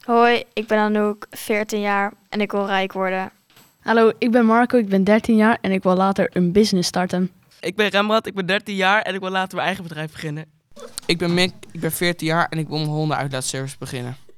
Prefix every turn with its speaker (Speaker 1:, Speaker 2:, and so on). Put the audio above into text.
Speaker 1: Hoi, ik ben Anouk, 14 jaar en ik wil rijk worden.
Speaker 2: Hallo, ik ben Marco, ik ben 13 jaar en ik wil later een business starten.
Speaker 3: Ik ben Rembrandt, ik ben 13 jaar en ik wil later mijn eigen bedrijf beginnen.
Speaker 4: Ik ben Mick, ik ben 14 jaar en ik wil mijn hondenuitlaatservice beginnen.